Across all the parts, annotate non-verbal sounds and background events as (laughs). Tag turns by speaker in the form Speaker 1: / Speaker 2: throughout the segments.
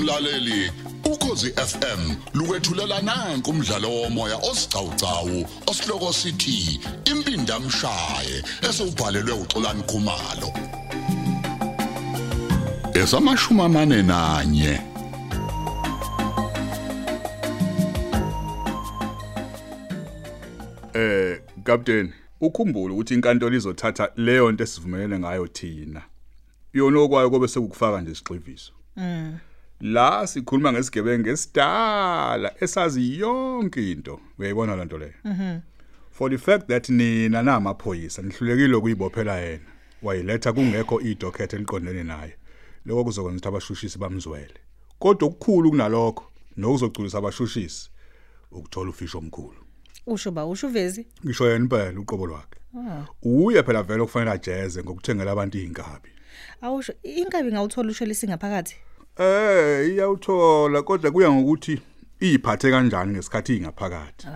Speaker 1: mlaleli ukhosi FM lukwethulela nanku umdlalo womoya osiqhawqhawo osihloko sithi impinda mshaye esubhalelwe uXolani Khumalo esamashuma mane nanye
Speaker 2: Eh, Captain, ukhumbule ukuthi inkantolo izothatha leyo nto esivumelene ngayo thina. Yona okwayo kobe sekukufaka nje isixhiviso. Mm. La sikhuluma ngesigebengu esidala esazi yonke into. Uyayibona lento leyo. Mhm. For the fact that nina namaphoyisa nihlulekile ukuyibophela yena, wayiletha kungekho idokhethe eliqondene naye. Lokho kuzokwenza ukuthi abashushisi bamzwele. Kodwa okukhulu kunalokho, nokuzoculisa abashushisi ukuthola ufisho omkhulu.
Speaker 3: usho ba usho uvezi
Speaker 2: ngisho yena impela uqobo lwakhe uye phela vele okufanele ajeze ngokuthengela abantu iy'nkabi
Speaker 3: awusho inkabi ngawuthola usho lisingaphakathi
Speaker 2: eh iyawuthola kodwa kuya ngokuthi iyiphathe kanjani ngesikhathi ingaphakathi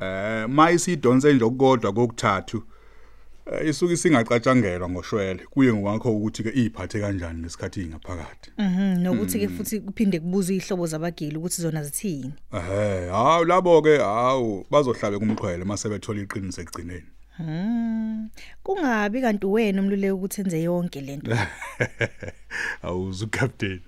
Speaker 2: eh mayisiyidonse nje okukodwa kokuthathu eh, isuke isingacatshangelwa ngoshwele kuye ngakho ukuthi ke iyiphathe kanjani ngesikhathi ingaphakathi
Speaker 3: Mhm, nokuthi ke futhi kuphinde kubuza izihlobo zabagili ukuthi zona zithini
Speaker 2: ehe hawu labo ke hawu bazohlabe kumqhwele mase bethola iqiniso ekugcineni
Speaker 3: Mhm. kungabi kanti wena umluleki ukuthi enze yonke lento
Speaker 2: awuzu captain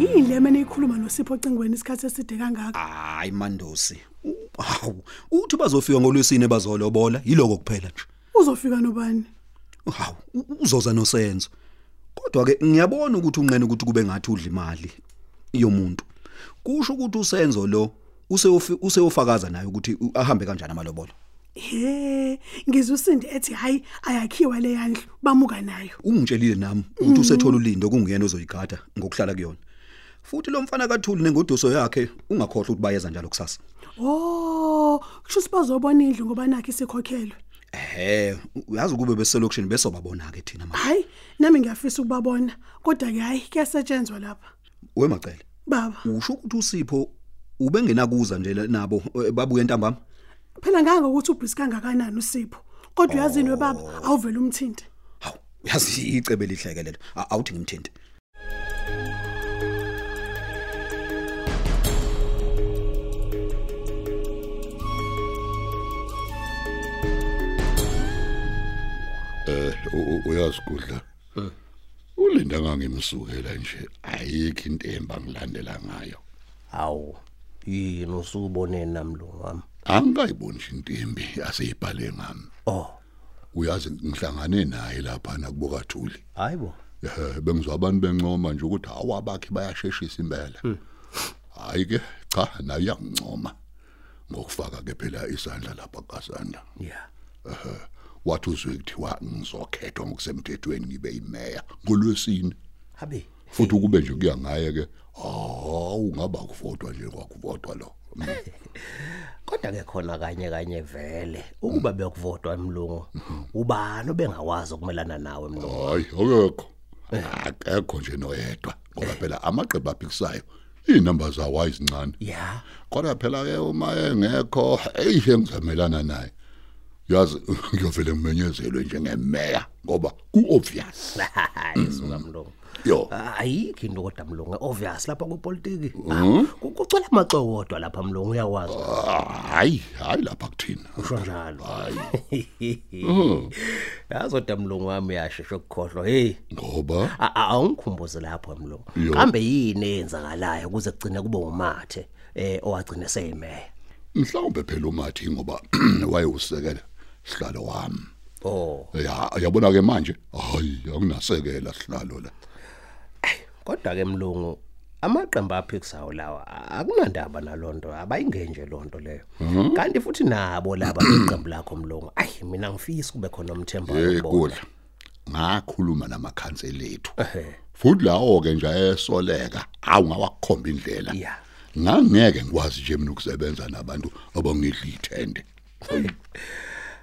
Speaker 4: yini le mena ikhuluma nosipho ocingweni isikhathi eside kangaka
Speaker 5: hayi mandosi U- hawu uthi bazofika ngolwesine bazolobola yiloko kuphela nje
Speaker 4: uzofika nobani
Speaker 5: hawu u- uzoza nosenzo kodwa ke ngiyabona ukuthi unqene ukuthi kube ngathi udla imali yomuntu kusho ukuthi usenzo lo useyofi- useyofakaza naye ukuthi u- ahambe kanjani amalobolo
Speaker 4: he ngizusindi ethi hayi ayakhiwa le yandlu bamuka nayo
Speaker 5: ungitshelile nami ukuthi usethola ulindo kungiyena ozoyigada ngokuhlala kuyona futhi lo mfana kathuli nengoduso yakhe ungakhohlwa ukuthi bayeza njalo kusasa
Speaker 4: o Oh, kusho ukuthi bazobona indlu ngoba nakho isikhokhelwe
Speaker 5: ehe uyazi ukube beselokishini besobabona ke thina manje
Speaker 4: hhayi nami ngiyafisa ukubabona kodwa-ke hhayi kuyasetshenzwa lapha
Speaker 5: wemacele
Speaker 4: baba
Speaker 5: usho ukuthi usipho ubengenakuza nje la- nabo eh, babuye ntambama
Speaker 4: phela ngangokuthi ubhizi kangakanani usipho kodwa uyazini webaba awuvele umthinte
Speaker 5: hawu yazi icebe lihleke lelo A- awuthi ngimthinte
Speaker 1: eh u- u- uyasigudla ulinda ngangimsukela nje ayikho into emba ngilandela ngayo
Speaker 6: hawu yini usubone namlungu wami
Speaker 1: angayiboni nje intimbi aseyibhale ngami
Speaker 6: oh
Speaker 1: uyazi ngihlangane naye lapha nakuboka Thuli
Speaker 6: hayibo
Speaker 1: Eh, bengizwa abantu bencoma nje ukuthi awabakhe bayasheshisa impela hayi ke cha naye uyangincoma ngokufaka ke phela isandla lapha kasanda Eh,
Speaker 6: yeah
Speaker 1: wathi uzwe kuthiwa ngizokhethwa ngokusemthethweni ngibe imeya ngolwesini
Speaker 6: habe
Speaker 1: futhi ukube nje kuya ngaye ke hawu ngaba kuvotwa nje kwakuvotwa lo Mm.
Speaker 6: kodwa ke khona kanye kanye vele ukuba bekuvotwa emlungu ubani obengawazi ukumelana nawe emlungu
Speaker 1: hayi awekho akekho nje noyedwa ngoba phela amaqeba aphikisayo iy'namba zawo ayizincane
Speaker 6: (laughs) ya
Speaker 1: kodwa phela ke uma engekho eyishe ngizamelana naye yazi ngiyovele ngimenyezelwe njengemeya ngoba ku-obvious
Speaker 6: hayi suka mlungu
Speaker 1: yo
Speaker 6: ayikho into kodwa mlungu obvious lapha kwipolitiki kucela amaxo wodwa lapha mlungu uyawazi
Speaker 1: ah, hayi hayi lapha kuthina
Speaker 6: usho njalo (laughs)
Speaker 1: Mhm.
Speaker 6: yazi kodwa mlungu wami uyashesha ukukhohlwa heyi
Speaker 1: ngoba
Speaker 6: A- a- awungikhumbuze lapho mlungu
Speaker 1: Yo.
Speaker 6: kambe yini eyenzakalayo ukuze kugcine kube umathe eh owagcine seyimeya
Speaker 1: mhlawumbe phela umathi ngoba (clears throat) wayewusekela sihlalo wami
Speaker 6: oh
Speaker 1: ya yabona ke manje hayi akunasekela sihlalo la
Speaker 6: kodwa ke mlungu amaqembu aphikisayo lawa a- akunandaba nalonto abayingenje lonto leyo kanti futhi nabo laba beqembu lakho mlungu ayi mina ngifisi kube khona
Speaker 1: Eh
Speaker 6: umthembayo kubona
Speaker 1: kodwa ngakhuluma namakhansela ethu
Speaker 6: Ehhe.
Speaker 1: futhi lawo ke nje ayesoleka awungawakhomba indlela
Speaker 6: Ya.
Speaker 1: ngangeke ngikwazi nje mina ukusebenza nabantu abangidli ithende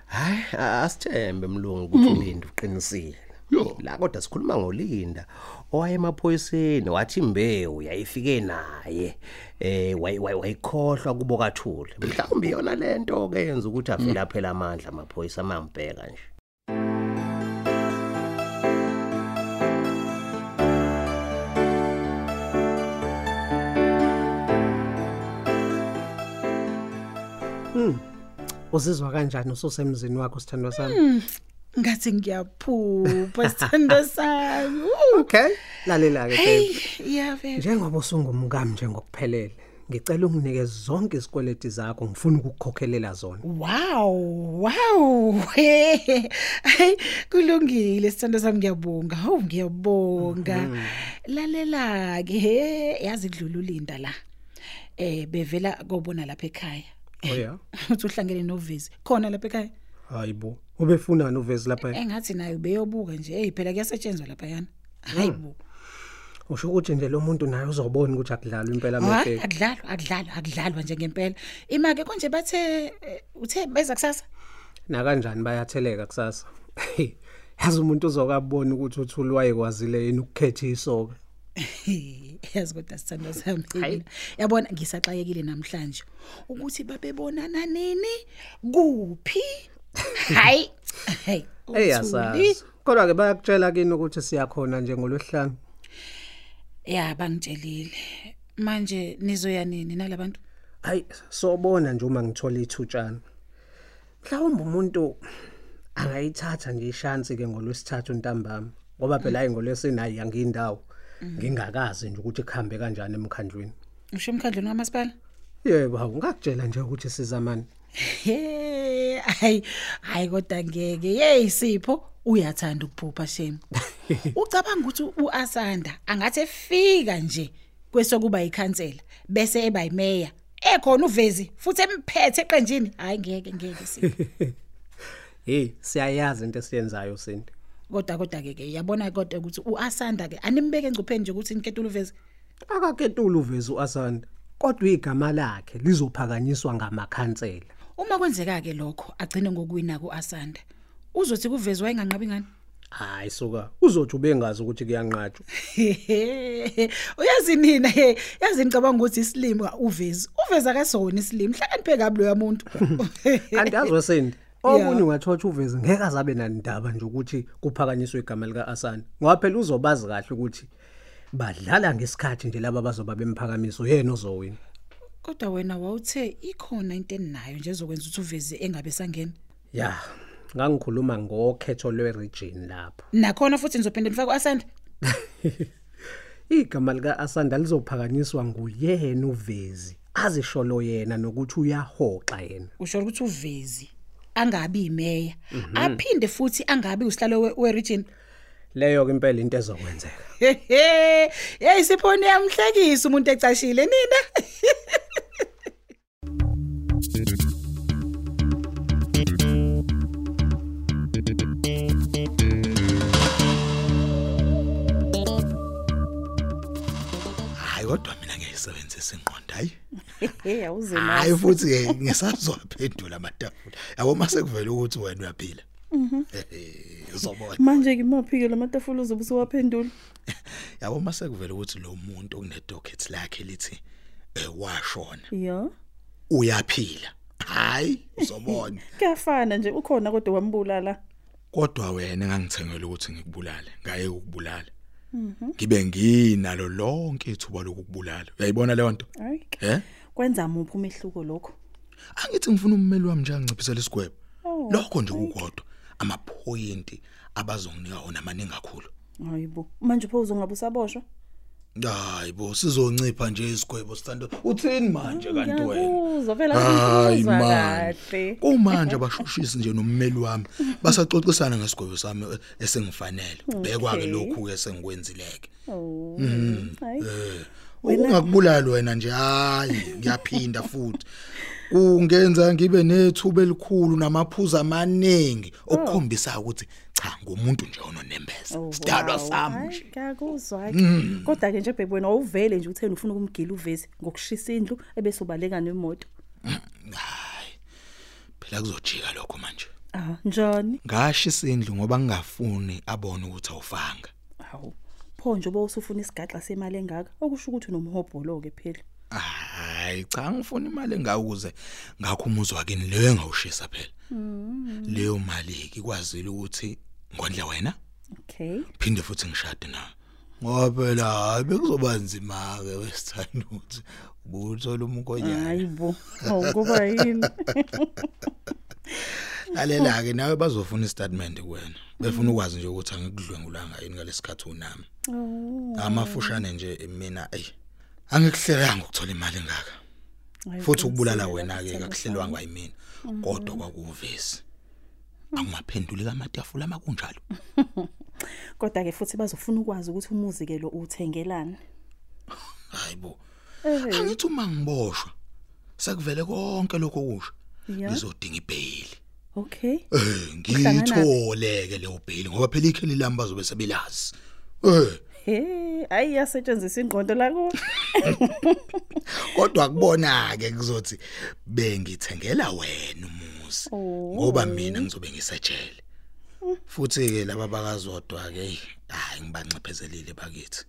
Speaker 6: hayi a- asithembe mlungu ukuthi ulinde uqinisile
Speaker 1: Yo.
Speaker 6: la kodwa sikhuluma ngolinda owaye emaphoyiseni wathi imbewu yayifike naye eh wayi- wayi- wayikhohlwa kubo kathule mhlawumbe yona lento ke yenza ukuthi afela phela amandla amaphoyisa amambheka nje
Speaker 4: uzizwa kanjani ususemzini wakho sithandwa sami
Speaker 3: ngathi ngiyaphupha sithando (laughs) sami Woo.
Speaker 4: okay lalela ke
Speaker 3: hey yeah
Speaker 4: njengoba usungumkami njengokuphelele ngicela unginike zonke izikweleti zakho ngifuna ukukukhokhelela zona
Speaker 3: Wow, wow. Hey, kulungile sithando sami ngiyabonga. Hawu ngiyabonga. Lalela ke, he, yazi kudlululinda la. Eh bevela kobona lapha ekhaya.
Speaker 4: Oh, yeah?
Speaker 3: (laughs) Uthi uhlangene novezi. Khona lapha ekhaya.
Speaker 4: hayibo ubefunani uvezi lapha
Speaker 3: Engathi nayo beyobuka nje. Hey, phela kuyasetshenzwa lapha yana. Hayibo.
Speaker 4: usho ukuthi nje lo muntu naye uzobona ukuthi akudlalwa impela
Speaker 3: Hayi,
Speaker 4: amabheki
Speaker 3: akudlalwa, akudlalwa, akudlalwa nje ngempela. Ima ke konje bathe eh, uthe beza kusasa. (laughs)
Speaker 4: nakanjani bayatheleka kusasa Hey, yazi umuntu uzokabona ukuthi uthule wayekwazile yini ukukhetha isoka
Speaker 3: yazi kodwa sithando sami mina yabona ngisaxayekile namhlanje ukuthi babebonana nini kuphi hayi hey
Speaker 4: eyasazi kodwa-ke bayakutshela kini ukuthi siyakhona njengolwesihlanu
Speaker 3: ya bangitshelile manje nizoya nini nalabantu
Speaker 4: hayi sobona nje uma ngithola ithutshana mhlawumbe umuntu angayithatha nje ishansi ke ngolwesithathu ntambama ngoba phela hayi ngolwesinayi angiyindawo ngingakazi nje ukuthi kuhambe kanjani emkhandlwini
Speaker 3: usho emkhandleni kamasipala
Speaker 4: yebo hawu ngakutshela nje ukuthi sizamani
Speaker 3: (laughs) hey hayi hayi kodwa ngeke hey sipho uyathanda ukuphupha shame ucabanga ukuthi uAsanda angathi efika nje kwesokuba yikhansela bese eba yimeya ekhona uvezi futhi emphethe eqenjini hayi ngeke ngeke sipho
Speaker 4: hey siyayazi into esiyenzayo sinto
Speaker 3: kodwa kodwa ke ke yabona kodwa ukuthi uAsanda ke animbeke engcupheni nje ukuthi inketula uvezi
Speaker 4: akaketula uveze u-asanda kodwa igama lakhe lizophakanyiswa ngamakhansela
Speaker 3: uma kwenzeka ke lokho agcine ngokuwina kuAsanda uzothi kuvezi wayenganqabi ngani
Speaker 4: hhayi suka uzothi ubengazi ukuthi kuyanqatshwa
Speaker 3: (laughs) uyazi nina he yazi ngicabanga ukuthi isilimo uvezi uveza kasona isilimo hlakaniphe kabi loya muntu
Speaker 7: (laughs)
Speaker 4: kanti azwe (laughs) sindi
Speaker 3: Yeah.
Speaker 4: omunye ungathothi uveze ngeke azabe nanindaba nje ukuthi kuphakanyiswe igama lika-asanda ngoba phela uzobazi kahle ukuthi badlala ngesikhathi nje laba abazoba bemphakamisa uyena ozowina
Speaker 3: kodwa wena wawuthe ikhona into eninayo nje ezokwenza ukuthi uvezi engabe sangena
Speaker 4: ya ngangikhuluma ngokhetho lwe-region lapho
Speaker 3: nakhona futhi nizophinda nifake u-asanda
Speaker 4: igama lika-asanda lizophakanyiswa nguyena uvezi azisholo yena nokuthi uyahoxa yena
Speaker 3: usho ukuthi uvezi angabi imeya
Speaker 7: Mhm.
Speaker 3: aphinde futhi angabi usihlalo we- we-region (laughs)
Speaker 4: leyo-ke impela into ezokwenzeka
Speaker 3: yeyi siphoni yamhlekisa umuntu ecashile nina
Speaker 7: (laughs)
Speaker 5: hayi kodwa mina ngiyisebenzisa inqondo hayi
Speaker 3: hey awuzima
Speaker 5: hayi futhi ke ngisazophendula amatafula yabo mase kuvela ukuthi wena uyaphila mhm uzobona
Speaker 8: manje ngimaphi-ke la matafula uzobe usuwaphendula
Speaker 5: yabo mase kuvela ukuthi lo muntu okunedocket lakhe lithi eh washona
Speaker 8: ya
Speaker 5: uyaphila hayi uzobona
Speaker 8: kuyafana nje ukhona kodwa wambulala
Speaker 5: kodwa wena engangithengele ukuthi ngikubulale ngaye ukubulala ngibe nginalo lonke ithuba lokubulala uyayibona le nto
Speaker 8: hayi
Speaker 5: eh
Speaker 8: kwenza muphi umehluko lokho
Speaker 5: angithi ngifuna ummeli wami nje anginciphisele isigwebo lokho nje kukodwa amapoint abazonginika wona amaningi kakhulu
Speaker 8: hayibo manje pho uzongabe usaboshwa
Speaker 5: hayi bo sizoncipha nje isigwebo sithando uthini manje kanti wena
Speaker 8: uzo phela
Speaker 5: Hayi,
Speaker 8: ngizwa
Speaker 5: man.
Speaker 8: kahle
Speaker 5: kumanje abashushisi nje nommeli wami basaxoxisana ngesigwebo sami eh, esingifanele bekwa-ke lokhu-ke esengikwenzileke
Speaker 8: Oh,
Speaker 5: Mm-hmm.
Speaker 8: hayi
Speaker 5: ungakubulali wena nje hhayi ngiyaphinda futhi kungenza ngibe nethuba elikhulu namaphuzu amaningi okukhombisayo ukuthi cha ngumuntu nje
Speaker 8: Oh,
Speaker 5: ononembeza sidalwa sami nje Mm.
Speaker 8: kakuzwa-ke kodwa-ke nje bhebe wena wawuvele nje utheni ufuna ukumgila uvezi ngokushisa indlu ebese ubaleka nemoto
Speaker 5: hayi phela kuzojika lokho manje
Speaker 8: ah njani
Speaker 5: ngashisa indlu ngoba ngingafuni abone ukuthi awufanga
Speaker 8: hawu pho pho nje obowusufuna isigaxa semali engaka okusho ukuthi unomhobholo ke phela
Speaker 5: hayi cha ngifuna imali engawuze ngakho umuzwa kini leyo engawushisa phela leyo mali ke kwazile ukuthi ngondle wena
Speaker 8: okay
Speaker 5: phinde futhi ngishade na ngoba phela hayi bekuzoba nzima ke wesithanda ukuthi ubuthola umkonyana
Speaker 8: hayibo awukuba yini
Speaker 5: lalela ke nawe bazofuna istatement kuwena befuna ukwazi nje ukuthi angikudlwengulanga yini ngalesikhathi unami amafushane nje mina ey angikuhlelanga ukuthola imali engaka futhi ukubulala wena ke akuhlelwanga yimina kodwa kwakuvesi angimaphenduli kamatafula makunjalo
Speaker 8: kodwa ke futhi bazofuna ukwazi ukuthi umuzi ke lo uthengelana
Speaker 5: hayibo angithi uma ngiboshwa sekuvele konke lokho kusho ngizodinga ibhayili
Speaker 8: okay
Speaker 5: Eh ngiyitholeke leyo bhayili ngoba phela ikheli lami bazobe sebilazi eh
Speaker 8: hey ayiyasetshenziswa ingqondo la ku
Speaker 5: kodwa kubona ke kuzothi bengithengela wena umuzi
Speaker 8: Oh,
Speaker 5: ngoba mina ngizobe ngisejele futhi ke laba bakazodwa ke hayi ngibanxephezelile bakithi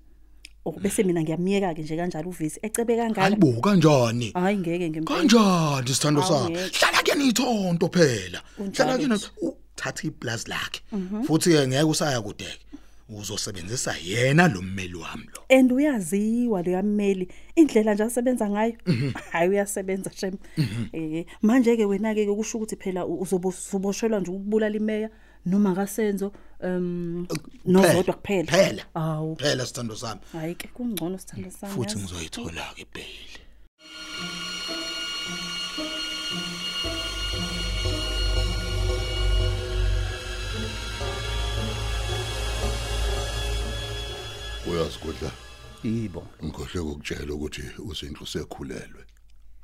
Speaker 8: oh, bese mina ngiyamiyeka ke nje kanjalo uvisi ecebe kangaka
Speaker 5: ayibo kanjani
Speaker 8: hayi ngeke ngimthole
Speaker 5: kanjani sithando sami
Speaker 8: Awungeke.
Speaker 5: hlala ke nithonto phela
Speaker 8: Kunjalo
Speaker 5: hlala ke na- u- thatha iplus lakhe futhi ke ngeke usaya kudeke uzosebenzisa yena lo mmeli wami lo
Speaker 8: and uyaziwa leyo mmeli indlela nje asebenza ngayo hayi uyasebenza shem eh manje ke wena ke kusho ukuthi phela u- uzobo- uzoboshelwa nje ukubulala imeya noma akasenzo um nozodwa kuphela
Speaker 5: phela
Speaker 8: awu
Speaker 5: phela sithando sami
Speaker 8: hayi ke kungcono sithanda sami
Speaker 5: futhi
Speaker 8: yazi.
Speaker 5: ngizoyithola ke ibhayili
Speaker 1: uyazigodla
Speaker 6: yibo
Speaker 1: ngikhohle ukutshela ukuthi uzindlu sekhulelwe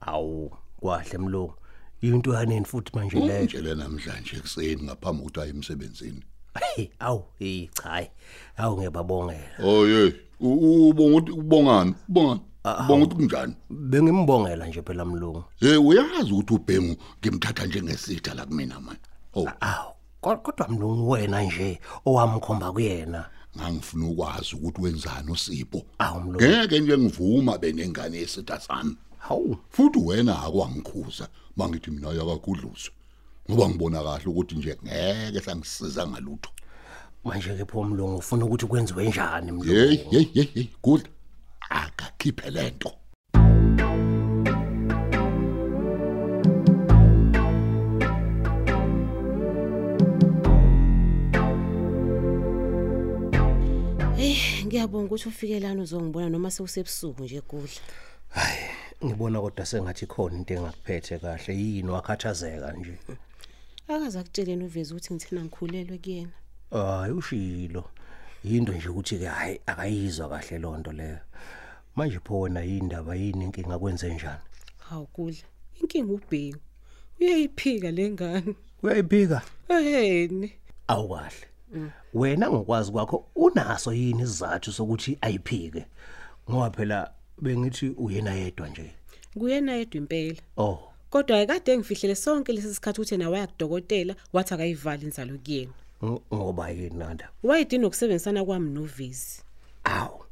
Speaker 6: awu kwahle mlungu into yaneni futhi manje leyo
Speaker 1: ngitshele namhlanje ekuseni ngaphambi kokuthi aye emsebenzini
Speaker 6: Hey, awu hey cha hayi awu ngiyababongela
Speaker 1: oye ubonga ukuthi ubongani ubongani ubonga ukuthi kunjani
Speaker 6: bengimbongela nje phela mlungu
Speaker 1: hey uyazi ukuthi ubhengu ngimthatha njengesitha la kumina manje oh
Speaker 6: awu ko- kodwa mlungu wena nje owamkhomba kuyena
Speaker 1: ngangifuna ukwazi ukuthi wenzani usipho
Speaker 6: awu mlungu
Speaker 1: ngeke nje ngivuma benengane yesitha sami
Speaker 6: hawu
Speaker 1: futhi wena akwangikhuza mangithi mina yakagudluzo ngoba ngibona kahle ukuthi nje ngeke sangisiza ngalutho
Speaker 6: manje ke pho mlungu ufuna ukuthi kwenziwe njani
Speaker 1: hey
Speaker 6: mlungu
Speaker 1: hey hey hey good akakhiphe lento
Speaker 7: Eh ngiyabonga ukuthi ufike lana uzongibona noma sewusebusuku nje kudla.
Speaker 6: ngibona kodwa sengathi khona into engakuphethe kahle yini wakhathazeka nje
Speaker 7: Akaze akutsheleni uveze ukuthi ngithena ngikhulelwe kuyena.
Speaker 6: hayi ushilo yinto nje ukuthi ke hayi akayizwa kahle lonto leyo manje pho wena yindaba yini inkinga kwenze njani
Speaker 7: Hawu kudla. Inkinga ubhengu. Uyayiphika lengane.
Speaker 6: uyayiphika
Speaker 7: Ehene.
Speaker 6: awukahle wena ngokwazi kwakho unaso yini isizathu sokuthi ayiphike ngoba phela bengithi uyena yedwa nje
Speaker 7: Kuyena yedwa impela.
Speaker 6: oh
Speaker 7: Kodwa ayikade engifihlele sonke lesi sikhathi uthi yena wayakudokotela wathi akayivali inzalo kuyena.
Speaker 6: ng- ngoba yini nanda
Speaker 7: Wayedini ukusebenzisana kwami novisi.
Speaker 6: awu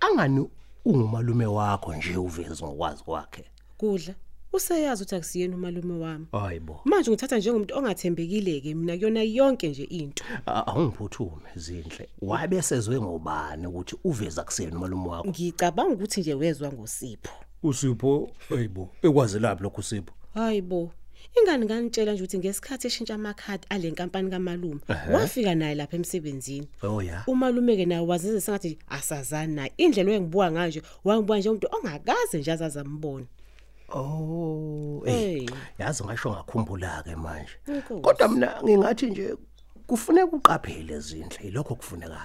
Speaker 6: angani ungumalume wakho nje uvezi ngokwazi kwakhe
Speaker 7: Kudla. Useyazi ukuthi akusiyena umalume wami.
Speaker 6: hayibo
Speaker 7: Manje ngithatha njengomuntu ongathembekile ke mina kuyona yonke nje into.
Speaker 6: A- awungiphuthume zinhle wabe sezwe ngobani ukuthi uveza kuseni umalume wakho
Speaker 7: Ngicabanga ukuthi nje wezwa ngosipho.
Speaker 6: usipho hayibo ekwazi lapho lokho usipho
Speaker 7: Hayibo. Ingani ngangitshela nje ukuthi ngesikhathi eshintsha amakhadi ale nkampani kamalume wafika naye lapha emsebenzini.
Speaker 6: oh ya
Speaker 7: Umalume ke naye wazise sengathi asazana naye. Indlela engibuka ngayo wangibuka nje umuntu ongakaze nje azazambona.
Speaker 6: oh
Speaker 7: Hey.
Speaker 6: eh yazi ngasho ngakhumbula ke manje
Speaker 7: Inkosi.
Speaker 6: kodwa mina ngingathi nje kufuneka uqaphele izinhle lokho kufunekayo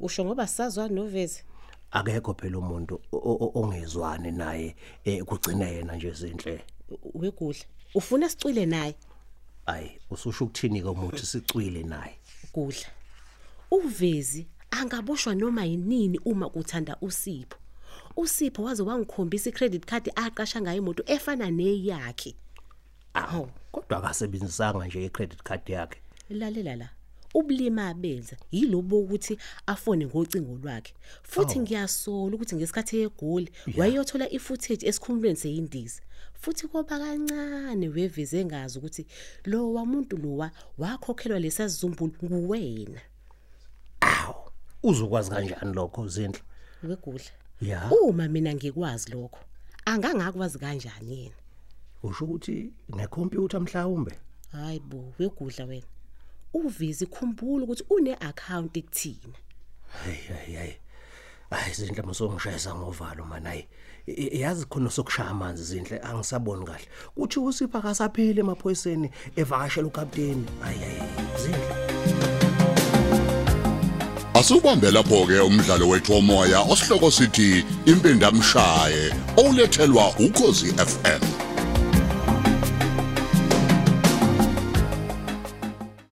Speaker 7: Usho ngoba sazwa noveze.
Speaker 6: akekho phela umuntu o- o- o- ongezwani naye eh, kugcina yena nje izinhle
Speaker 7: Wegudla. Ufuna sicwile naye
Speaker 6: ayi ususho ukuthini ke umuntu sicwile naye
Speaker 7: kudla. Uvezi angaboshwa noma yinini uma kuthanda uSipho. uSipho waze wangikhombisa icredit card aqasha ngayo imoto efana neyakhe
Speaker 6: awu kodwa akasebenzisanga nje icredit card yakhe
Speaker 7: lalela la ubulima abenza yilobo ukuthi afone ngocingo lwakhe futhi ngiyasola ukuthi ngesikhathi egoli wayeyothola ifootage esikhumulweni seyindiza futhi koba kancane weveze ngazi ukuthi lo wamuntu lowa wakhokhelwa lesazizumbulu nguwena
Speaker 6: uzokwazi kanjani lokho zindlu
Speaker 7: wegudla
Speaker 6: ya
Speaker 7: uma mina ngikwazi lokho angangakwazi kanjani yena
Speaker 6: usho ukuthi ngekhompyutha mhlawumbe
Speaker 7: hayi bo wegudla wena uvezi khumbula ukuthi une-akhawunti kuthina
Speaker 6: hayi hayi hayi hayi zindle msongishayisa ngovalo mani hayi I- i- yazi khona sokushaya amanzi zindle angisaboni kahle kuthi usipha kasapheli emaphoyiseni evakashela ukapteni hayi hayi zindle
Speaker 1: Asubambe lapho ke umdlalo wethu womoya osihloko sithi impindamshaye olethelwa ukozi FM